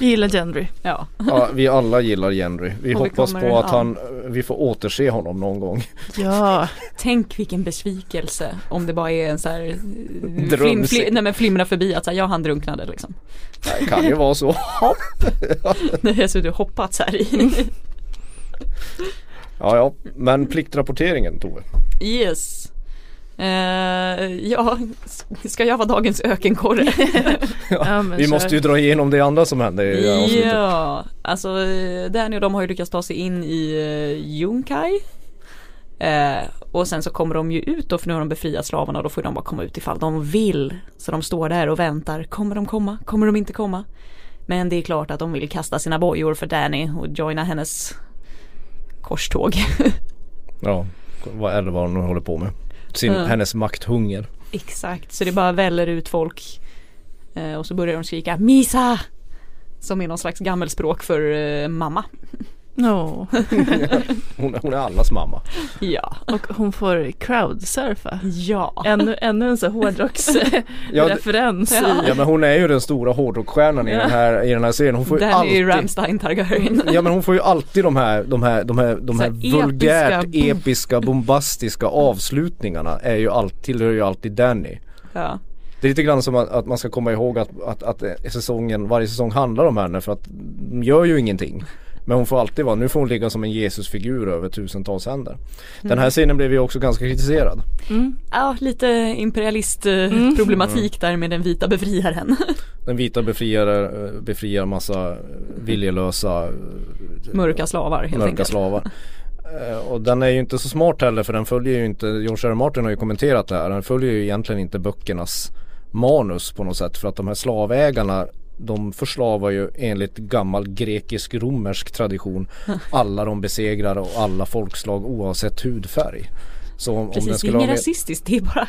B: Jag gillar Gendry.
A: Ja.
D: Ja, vi alla gillar Jenry. Vi
B: Och vi
D: hoppas
B: kommer-
D: på att
B: ja.
D: han, vi får återse honom någon gång.
B: Ja.
A: Tänk vilken besvikelse om det bara är en så här eh, flim,
D: Drömse-
A: fli, nej, men flimra förbi att så här, ja han drunknade liksom.
D: Det kan ju vara så.
A: Nej, jag ser du hoppats här i.
D: Ja, ja. Men pliktrapporteringen Tove.
A: Yes. Eh, ja, s- ska jag vara dagens ökenkorre?
B: Ja, men
D: Vi
B: så-
D: måste ju dra igenom det andra som hände i det här avsnittet.
A: Ja, alltså eh, Danny och de har ju lyckats ta sig in i eh, Yunkai. Eh, och sen så kommer de ju ut då för nu har de befriat slavarna och då får de bara komma ut ifall de vill. Så de står där och väntar, kommer de komma, kommer de inte komma? Men det är klart att de vill kasta sina bojor för Danny och joina hennes korståg.
D: Ja, vad- eller vad hon nu håller på med. Sin,
A: Ja.
D: Hennes makthunger.
A: Exakt, så det bara väller ut folk. Eh, och så börjar de skrika Misa! Som är någon slags gammelspråk för eh, mamma.
B: No.
D: Hon, hon är allas mamma.
A: Ja.
B: Och hon får crowdsurfa.
A: Ja.
B: Ännu, ännu en sån här
D: Ja, det-
B: hårdrocksreferens.
A: Ja.
B: i-
D: Ja men hon är ju den stora hårdrockstjärnan i, den här, i den här serien. Hon får ju
A: Danny
D: alltid, Mm.
A: Ramstein Targaryen.
D: ja, men hon får ju alltid de här, de här, de här, de
A: Så
D: här
A: här episka
D: vulgärt
A: bom-
D: episka bombastiska avslutningarna är ju all, tillhör ju alltid Danny.
A: Ja.
D: Det är lite grann som att, att man ska komma ihåg att, att, att säsongen, varje säsong handlar om henne för att de gör ju ingenting. Men hon får alltid vara, nu får hon ligga som en Jesusfigur över tusentals händer. Den här scenen blev ju också ganska kritiserad.
A: Mm. Ja, lite imperialistproblematik
D: Mm.
A: problematik där med den vita befriaren.
D: Den vita befriar, befriar massa viljelösa
A: Mörka slavar helt
D: mörka
A: enkelt.
D: slavar. Eh, Och den är ju inte så smart heller för den följer ju inte, George R. R. Martin har ju kommenterat det här, den följer ju egentligen inte böckernas manus på något sätt för att de här slavägarna de förslavar ju enligt gammal grekisk-romersk tradition alla de besegrar och alla folkslag oavsett hudfärg. Så om, om den
A: Precis, det är
D: skulle ha
A: inget
D: med, Mm.
A: rasistiskt, det är bara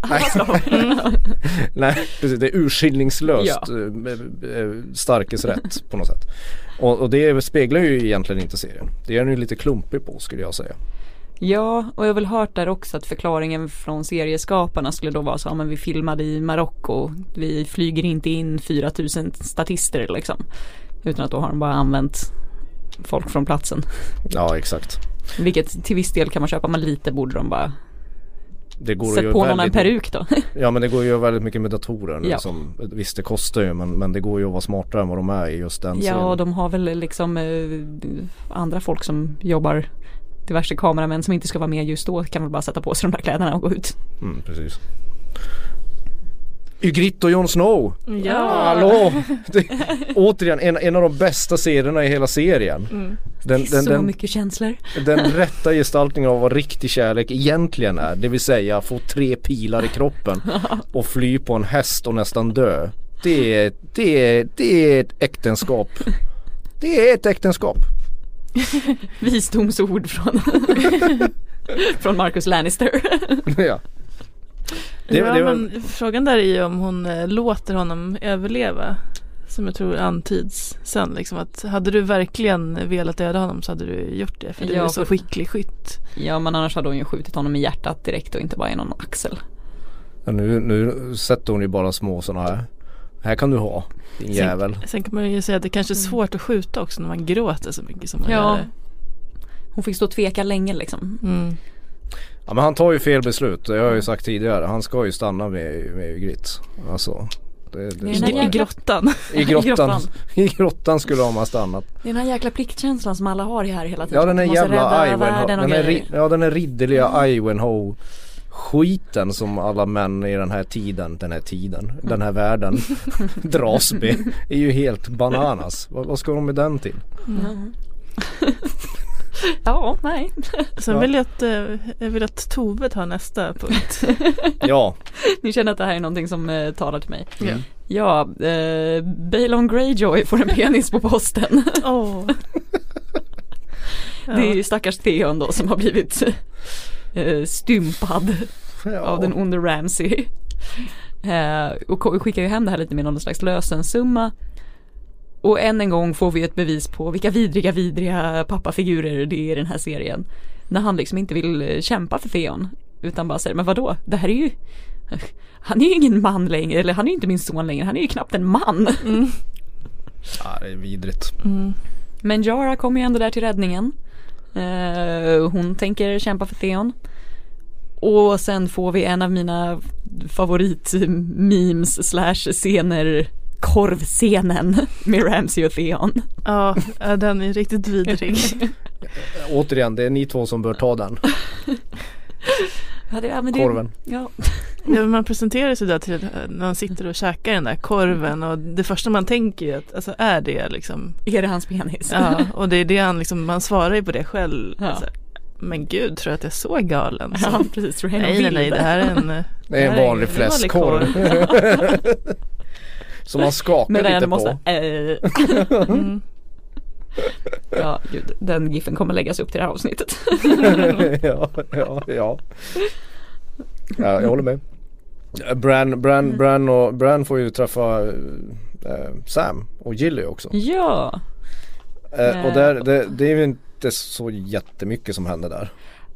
A: alla slavar.
D: Nej, precis. Det är urskillningslöst
A: Ja.
D: eh, eh, starkes rätt på något sätt. Och, och det speglar ju egentligen inte serien. Det är den ju lite klumpig på skulle jag säga.
A: Ja, och jag har väl hört där också att förklaringen från serieskaparna skulle då vara så, ja men vi filmade i Marocko, vi flyger inte in 4000 statister liksom. Utan att då har de bara använt folk från platsen.
D: Ja, exakt.
A: Vilket till viss del kan man köpa, men lite borde de bara
D: Det går att
A: sätta
D: göra
A: på någon en
D: väldigt-
A: peruk då.
D: Ja men det går ju att göra väldigt mycket med datorer nu
A: Ja.
D: som, visst det kostar ju men, men det går ju att vara smartare än vad de är i just den
A: ja, och de har väl liksom eh, andra folk som jobbar diverse kameramän som inte ska vara med just då kan väl bara sätta på sig de där kläderna och gå ut.
D: Mm, precis. Ygritte och Jon Snow!
B: Ja.
A: Ah.
D: Hallå! Det, återigen en, en av de bästa serierna i hela serien.
A: Mm.
D: Den,
A: Så mycket känslor.
D: Den rätta gestaltningen av vad riktig kärlek egentligen är. Det vill säga få tre pilar i kroppen och fly på en häst och nästan dö. Det är, det är, det är ett äktenskap. Det är ett äktenskap.
A: Visdomsord från, från Marcus Lannister.
D: ja. Det,
B: ja,
D: det var,
B: men frågan där är ju om hon eh, låter honom överleva. Som jag tror antyds sen liksom att hade du verkligen velat döda honom så hade du gjort det för du
A: Ja,
B: är så
A: för-
B: skicklig skytt.
A: Ja men annars hade hon ju skjutit honom i hjärtat direkt och inte bara i någon axel.
D: ja, nu, nu sätter hon ju bara små sådana här. Här kan du ha din jävel.
B: Sen, sen kan man ju säga att det kanske är svårt att skjuta också när man gråter så mycket som man
A: Mm. Ja.
B: gör.
A: Hon fick stå och tveka länge liksom.
B: Mm.
D: Ja men han tar ju fel beslut. Det har jag ju sagt tidigare. Han ska ju stanna med, med Ygritte. Alltså. Det, det
A: I
D: står
A: den här
D: här.
A: grottan.
D: I grottan. I grottan skulle de ha stannat.
A: Det är den här jäkla pliktkänslan som alla har här hela tiden.
D: Ja den
A: Att
D: är
A: man måste
D: jävla
A: rädda
D: Ivanhoe.
A: världen och
D: Den är,
A: grejer.
D: ri- ja den är ridderliga Ivanhoe skiten som alla män i den här tiden, den här tiden, den här världen dras med. är ju helt bananas. Vad, vad ska de med den till?
A: Mm. ja, nej.
B: Sen
D: Ja.
B: vill jag att, eh, jag vill att Tove tar nästa punkt.
D: Ja,
A: Ni känner att det här är någonting som eh, talar till mig.
B: Ja.
A: Ja, eh, Balon Greyjoy får en penis på posten.
B: Åh.
A: Det är ju stackars Theon då som har blivit eh, stympad av den onde Ramsey. Eh, och ko- skickar ju hem det här lite med någon slags lösensumma. Och än en gång får vi ett bevis på vilka vidriga, vidriga pappafigurer det är i den här serien. När han liksom inte vill eh, kämpa för Theon. Utan bara säger, men vadå, det här är ju han är ju ingen man längre, eller han är ju inte min son längre, han är ju knappt en man.
D: ja det är vidrigt.
A: Men Jara kommer ju ändå där till räddningen. Eh, hon tänker kämpa för Theon. Och sen får vi en av mina favorit-memes slash scener korvscenen med Ramsey och Theon.
B: Ja, eh, den är riktigt vidrig.
D: Återigen, det är ni två som bör ta den.
A: Ja, det, ja, men det,
D: Korven.
A: Ja,
B: Ja, men man presenterar sig där till eh, när man sitter och käkar den där korven och det första man tänker ju att alltså, är det liksom
A: är det hans penis?
B: Ja, och det är det han liksom, man svarar ju på det själv.
A: Ja.
B: Alltså, men gud, tror jag att jag är så galen? Så,
A: ja precis. Ren
B: nej, nej, nej, det här är en... Det,
D: Det är
B: här
D: en vanlig
B: det är en vanlig
D: fläskkorv.
B: korv.
D: Som man skakar
A: Men
D: lite
A: den
D: på.
A: måste... eh. Ja, gud, den giffen kommer läggas upp till det här avsnittet.
D: ja, ja, ja. ja, jag håller med. Bran,
B: Mm.
D: Bran, Bran, och, Bran får ju träffa eh, Sam och Gilly också.
A: Ja,
D: Eh, och där, det, det är ju inte så jättemycket som händer där.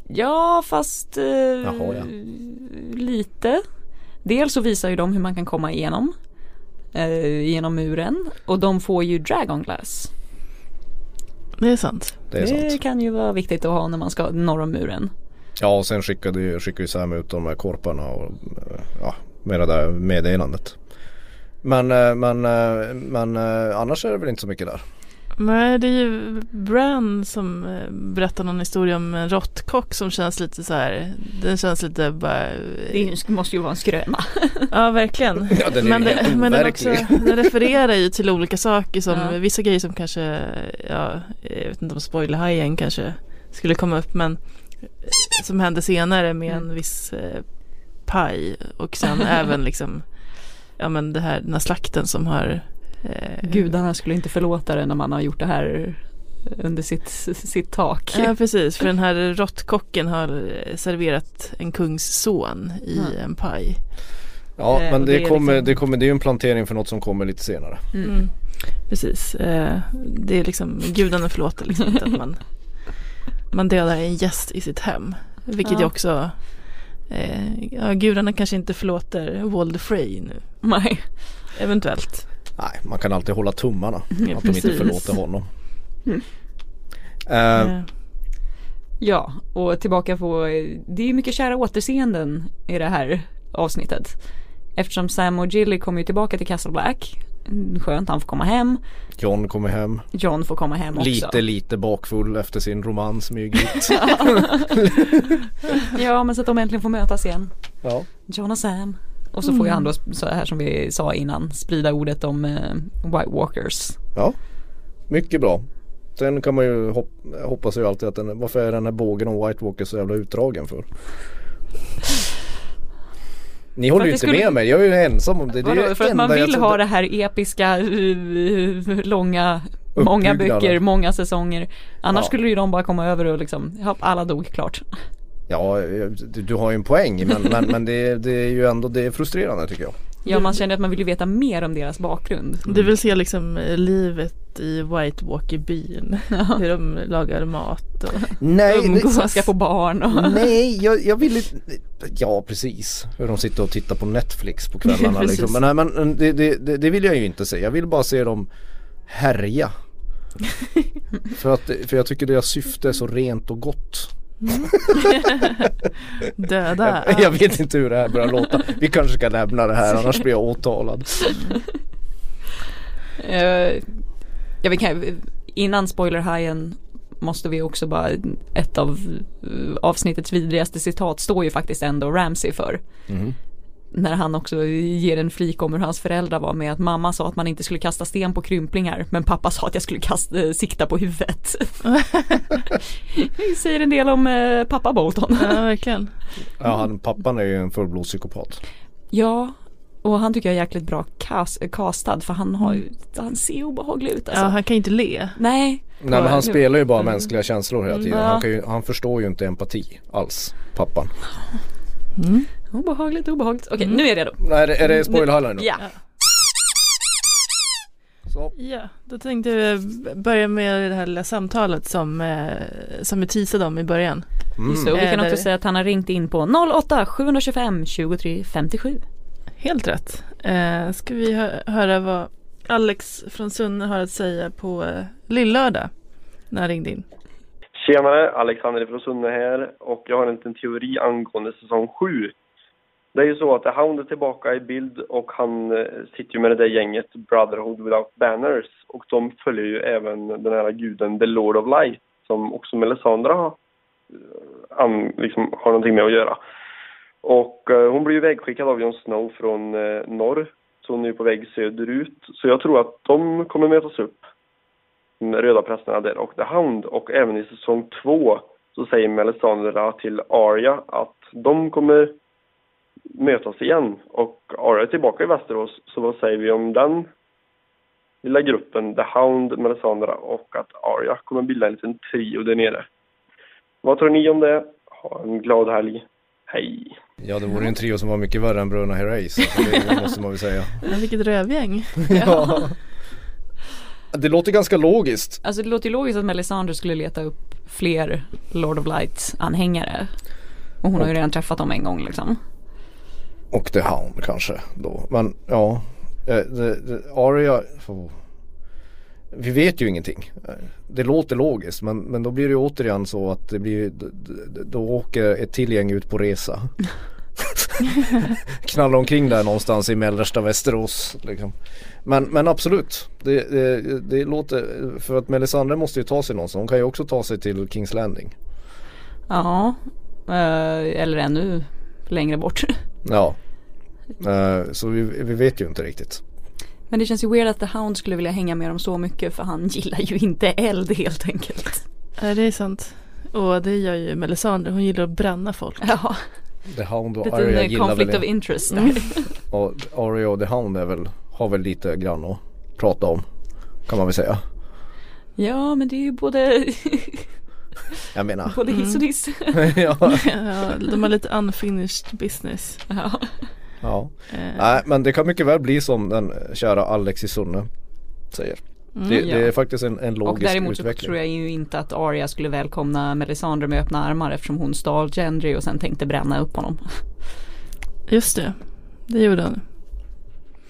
A: ja fast eh,
D: Jaha, ja.
A: lite. Dels så visar ju de hur man kan komma igenom. Eh, genom muren och de får ju dragon glass.
B: Det är sant.
D: Det är sant.
A: kan ju vara viktigt att ha när man ska norr om muren.
D: Ja och sen skickade ju, skickade ju Sam ut de här korparna och eh, ja, med det där meddelandet. Men, eh, men, eh, men eh, annars är det väl inte så mycket där.
B: Nej, det är ju Bran som eh, berättar någon historia om en råttkock som känns lite så här, den känns lite bara...
A: Det är ju- det måste ju vara en skröna.
B: Ja, verkligen.
A: Ja, den är
B: men
A: ju
B: det-
A: helt
B: men den, också,
A: overklig.
B: den refererar ju till olika saker som,
A: Ja.
B: vissa grejer som kanske, ja, jag vet inte om spoilerhajen kanske skulle komma upp, men eh, som hände senare med
A: Mm.
B: en viss eh, paj och sen även liksom, ja men det här, den här slakten som har eh,
A: Gudarna skulle inte förlåta det när man har gjort det här under sitt, sitt tak.
B: Ja precis, för den här råttkocken har eh, serverat en kungsson i
A: Ja.
B: en paj.
D: Ja
B: Eh,
D: men
B: och
D: det,
B: är
D: kommer,
B: liksom-
D: det kommer, det är ju en plantering för något som kommer lite senare.
B: Mm. Precis, eh, det är liksom gudarna förlåter liksom inte att man, man dödar en gäst i sitt hem. Vilket
A: Ja.
B: ju också, eh, ja, gudarna kanske inte förlåter Walder Frey nu.
A: Nej.
B: Eventuellt.
D: Nej, man kan alltid hålla tummarna
B: Ja,
D: att de inte
B: precis.
D: förlåter honom.
A: Mm.
D: Eh,
A: Ja, och tillbaka på, det är mycket kära återseenden i det här avsnittet. Eftersom Sam och Gilly kommer ju tillbaka till Castle Black. Skönt, han får komma hem.
D: John kommer hem.
A: John får komma hem också.
D: Lite lite bakfull efter sin romans med Ygritte.
A: ja, men så att de äntligen får mötas igen.
D: Ja.
A: John och Sam. Och så får
B: Mm.
A: ju han då, så här som vi sa innan, sprida ordet om eh, White Walkers.
D: ja, mycket bra. Sen kan man ju hop- jag hoppas ju alltid att den, varför är den här bågen om White Walker så jävla utdragen för? Ni håller
A: att
D: ju
A: det
D: inte
A: skulle-
D: med mig, jag är ju ensam om det. det är
A: Vadå,
D: det
A: för att man
D: enda jag
A: vill
D: tror-
A: ha det här episka, eh, långa, många
D: Uppbyggnaden.
A: böcker, många säsonger. Annars
D: Ja.
A: skulle ju de bara komma över och liksom, ja, alla dog klart.
D: Ja, eh, du, du har ju en poäng men, men, men det, det är ju ändå det är frustrerande tycker jag.
A: Ja, man känner att man vill ju veta mer om deras bakgrund.
B: Du vill se liksom eh, livet i White Walker-byn, hur de lagar mat och
D: Nej, det-
B: umgås.
D: ska få
A: barn
D: Mm. Nej, jag, jag vill inte... Ja, precis. Hur de sitter och tittar på Netflix på kvällarna
B: Precis.
D: liksom. Men, nej, men det, det, det- det vill jag ju inte se. Jag vill bara se dem härja. för, att, för jag tycker deras syfte är så rent och gott.
B: Döda.
D: Jag, jag vet inte hur det här börjar låta. Vi kanske ska lämna det här annars blir jag åtalad.
A: Eh, ja, vi kan, innan spoilerhajen måste vi också bara, ett av eh, avsnittets vidrigaste citat står ju faktiskt ändå Ramsey för. När han också ger en flik om hur hans föräldrar var med att mamma sa att man inte skulle kasta sten på krymplingar men pappa sa att jag skulle kasta, eh, sikta på huvudet. Det säger en del om eh, pappa Bolton.
B: Ja, verkligen.
D: Ja, han, pappan är ju en fullblodspsykopat.
A: Ja, och han tycker jag är jäkligt bra kas- castad för han, har, ju- han ser obehaglig ut alltså.
B: Mm. Ja, han kan ju inte le.
A: Nej.
D: Nej men han
A: Nu-
D: spelar ju bara mänskliga känslor hela tiden.
A: Mm. Ja.
D: Han, kan ju, han förstår ju inte empati alls, pappan.
A: Obehagligt, obehagligt. Okej,
B: Mm.
A: nu är jag redo.
D: Nej, är det- är det spoilerhallen då?
A: Mm. Ja.
B: Ja, då tänkte jag börja med det här lilla samtalet som, eh, som vi teasade om i början.
A: Just det, och vi kan
B: Eh,
A: också
B: där-
A: säga att han har ringt in på 08 725 23 57.
B: Helt rätt. Eh, ska vi hö- höra vad Alex från Sunne har att säga på eh, Lillördag när han ringde in.
E: Tjenare, Alexander från Sunne här och jag har en liten teori angående säsong 7. Det är ju så att The Hound är tillbaka i bild och han eh, sitter ju med det där gänget Brotherhood Without Banners och de följer ju även den här guden The Lord of Light som också Melisandra har, eh, an, liksom, har någonting med att göra. Och eh, hon blir ju vägskickad av Jon Snow från eh, norr så hon är ju på väg söderut. Så jag tror att de kommer mötas upp de röda prästerna där och The Hound. Och även i säsong två så säger Melisandre till Arya att de kommer mötas igen. Och Arya är tillbaka i Västerås, så vad säger vi om den lilla gruppen? The Hound, Melisandre och att Arya kommer bilda en liten trio där nere. Vad tror ni om det? Ha en glad helg. Hej!
D: Ja det vore ju en trio som var mycket värre än Bröderna Herreys. Alltså, det måste man väl säga.
B: Ja, vilket rövgäng.
D: Ja. Det låter ganska logiskt.
A: Alltså det låter ju logiskt att Melisandre skulle leta upp fler Lord of Light anhängare. Och hon har ju redan träffat dem en gång liksom.
D: Och The Hound kanske då. Men ja. eh, det- det- Arya. oh. Vi vet ju ingenting. Eh, Det låter logiskt men, men då blir det ju återigen så att det blir, d- d- då åker ett till gäng ut på resa. knalla omkring där någonstans i mellersta Västerås. Liksom. Men, men absolut, det, det, det låter, för att Melisandre måste ju ta sig någonstans. Hon kan ju också ta sig till Kings Landing.
A: Ja, eh, eller ännu längre bort.
D: Ja, eh, så vi, vi vet ju inte riktigt.
A: Men det känns ju weird att The Hound skulle vilja hänga med dem så mycket för han gillar ju inte eld helt enkelt.
B: Nej, det är sant. Och det gör ju Melisandre, hon gillar att bränna folk.
A: Ja.
D: The Hound och
A: Lite
D: Arya
A: en eh,
D: gillar
A: conflict
D: väl
A: of
D: det.
A: interest där.
D: Och Arya och The Hound är väl, har väl lite grann att prata om. Kan man väl säga.
A: Ja men det är ju både,
D: Jag menar.
A: både hiss och diss.
D: ja.
B: Ja, de har lite unfinished business.
A: Ja.
D: Ja.
B: Eh.
D: Nej men det kan mycket väl bli som den kära Alexis Sunne säger.
A: Mm,
D: det,
A: ja.
D: det är faktiskt en, en
A: Och
D: logisk
A: däremot så
D: utveckling.
A: tror jag ju inte att Arya skulle välkomna Melisandre med öppna armar eftersom hon stal Gendry och sen tänkte bränna upp honom.
B: Just det, det gjorde han.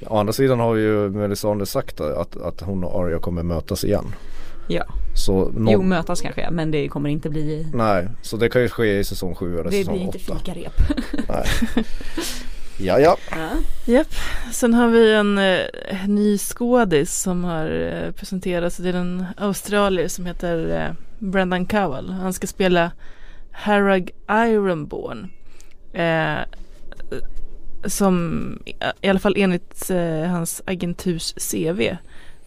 D: Å andra sidan har ju Melisandre sagt att, att hon och Arya kommer mötas igen.
A: Ja.
D: Så någon,
A: Jo mötas kanske men det kommer inte bli
D: Nej, så det kan ju ske i säsong 7 eller
A: Det blir
D: säsong
A: inte
D: 8.
A: fikarep.
D: Nej. Ja, ja.
B: Japp, sen har vi en eh, ny skådis som har eh, presenterats. Det är en australier som heter eh, Brendan Cowell. Han ska spela Harag Ironborn. Eh, eh, som i- i alla fall enligt eh, hans agenturs CV.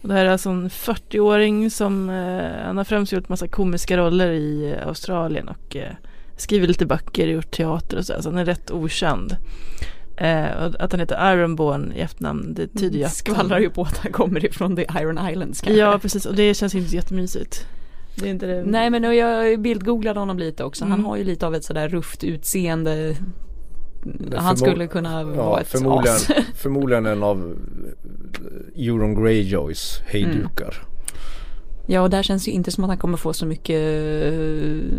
B: Och det här är alltså en 40-åring som eh, han har främst gjort massa komiska roller i eh, Australien och eh, skriver lite böcker, gjort teater och sådär. Så han är rätt okänd. Eh, och att han heter Ironborn i efternamn det tyder ju att
A: Skvallrar ju på att han kommer ifrån The Iron Islands kanske.
B: Ja precis och det känns inte jättemysigt. Det är inte det.
A: Nej men och jag bildgooglade honom lite också. Han
B: Mm.
A: har ju lite av ett sådär rufft utseende. Han
D: Förmo-
A: skulle kunna vara ett
D: förmodligen,
A: as.
D: förmodligen en av eh, Euron Greyjoys hejdukar.
A: Mm. Ja och där känns det ju inte som att han kommer få så mycket eh,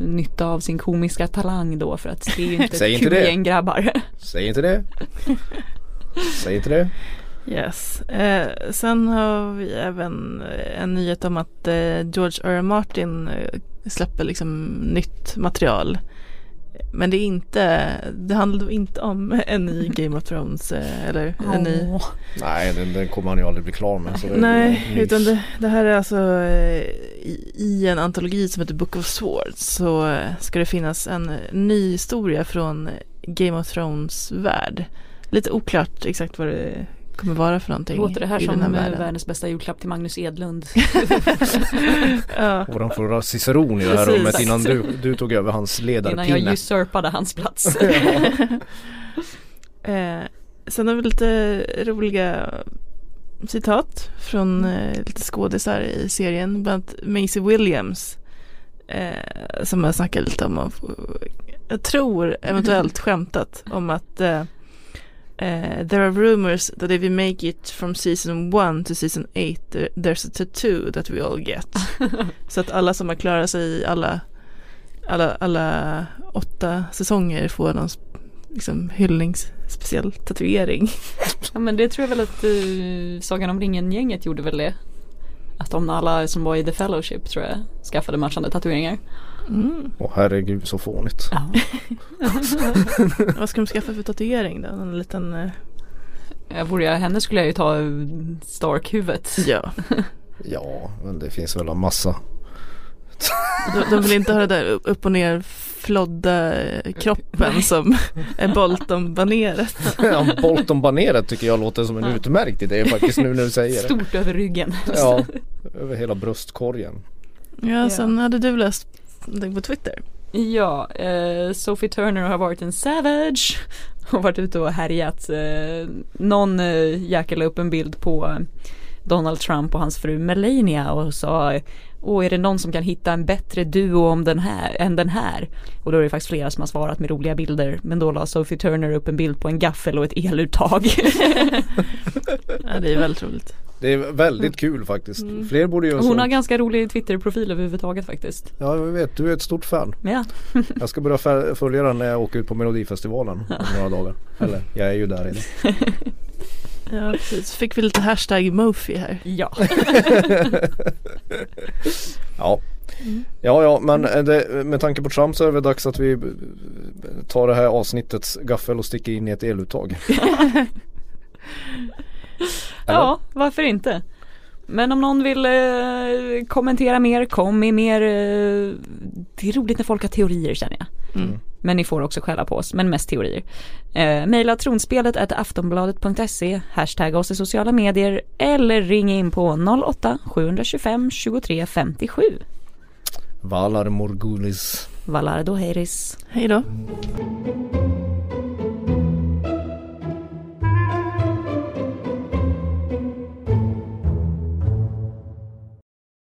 A: nytta av sin komiska talang då för att det är ju inte
D: Säg
A: ett
D: inte
A: kul
D: det.
A: gäng grabbar.
D: Säg inte det. Säg inte det.
B: Yes. Eh, sen har vi även eh, en nyhet om att eh, George R. R. Martin eh, släpper liksom nytt material. Men det är inte, det handlar då inte om en ny Game of Thrones eh, eller en ny
A: Åh.
D: Nej, den, den kommer han ju aldrig bli klar med. Så det är
B: Nej,
D: nys.
B: utan det, det här är alltså eh, i, i en antologi som heter Book of Swords så eh, ska det finnas en ny historia från Game of Thrones värld. Lite oklart exakt vad det kommer vara för någonting.
A: Låter det här
B: i
A: som
B: den här
A: eh,
B: världen.
A: världens bästa julklapp till Magnus Edlund?
B: ja.
D: Våran förra ciceron i det här
A: Precis.
D: rummet innan du, du tog över hans
A: Innan jag
D: ledarpinne.
A: usurpade hans plats.
B: eh, sen har vi lite roliga citat från eh, lite skådisar i serien. Bland annat Maisie Williams. Eh, som jag snackade lite om. Och, eh, jag tror eventuellt skämtat om att eh, eh, There are rumors that if we make it from season one to season eight there- there's a tattoo that we all get. Så att alla som har klarat sig i alla, alla, alla åtta säsonger får någon sp- liksom, hyllningsspeciell tatuering.
A: Ja men det tror jag väl att eh, Sagan om ringen-gänget gjorde väl det. Att de alla som var i The Fellowship tror jag skaffade matchande tatueringar.
D: Åh herregud så fånigt.
B: Vad ska de skaffa för tatuering då? En liten... eh,
A: Ja, Eh, Vore jag henne skulle jag ju ta eh, Stark-huvudet.
B: Ja.
D: Ja, men det finns väl en massa.
B: De, de vill inte ha det där upp- upp och ner flodda eh, kroppen som är Bolton-baneret.
D: Ja, Bolton Baneret tycker jag låter som en utmärkt idé faktiskt nu när du säger det.
A: Stort över ryggen.
D: Ja, över hela bröstkorgen.
B: Ja, sen hade du läst någonting på Twitter.
A: Ja, eh, Sophie Turner har varit en savage. Hon har varit ute och härjat. Eh, någon eh, jäkel la upp en bild på Donald Trump och hans fru Melania och sa Åh, är det någon som kan hitta en bättre duo om den här, än den här? Och då är det faktiskt flera som har svarat med roliga bilder. Men då la Sophie Turner upp en bild på en gaffel och ett eluttag.
B: Ja, det är väldigt roligt.
D: Det är väldigt kul faktiskt. Fler borde göra
A: Mm. Hon har
D: sånt.
A: ganska rolig Twitter-profil överhuvudtaget faktiskt.
D: Ja, jag vet. Du är ett stort fan.
A: Ja.
D: Jag ska börja fä- följa den när jag åker ut på Melodifestivalen om några dagar. Eller, jag är ju där redan.
B: Ja, precis. Fick vi lite hashtag Mofi här.
A: Ja.
D: Ja. Ja, ja, men eh, det, med tanke på Trump så är det väl dags att vi eh, ta det här avsnittets gaffel och sticka in i ett eluttag.
A: Ja, varför inte? Men om någon vill eh, kommentera mer, kom med mer. Eh, det är roligt när folk har teorier känner jag.
B: Mm.
A: Men ni får också skälla på oss, men mest teorier. Eh, maila tronspelet at aftonbladet.se, hashtagga oss i sociala medier eller ring in på 08-725 23 57.
D: Valar Morgulis.
A: Valardo Heiris.
B: Hej då.
A: Hej.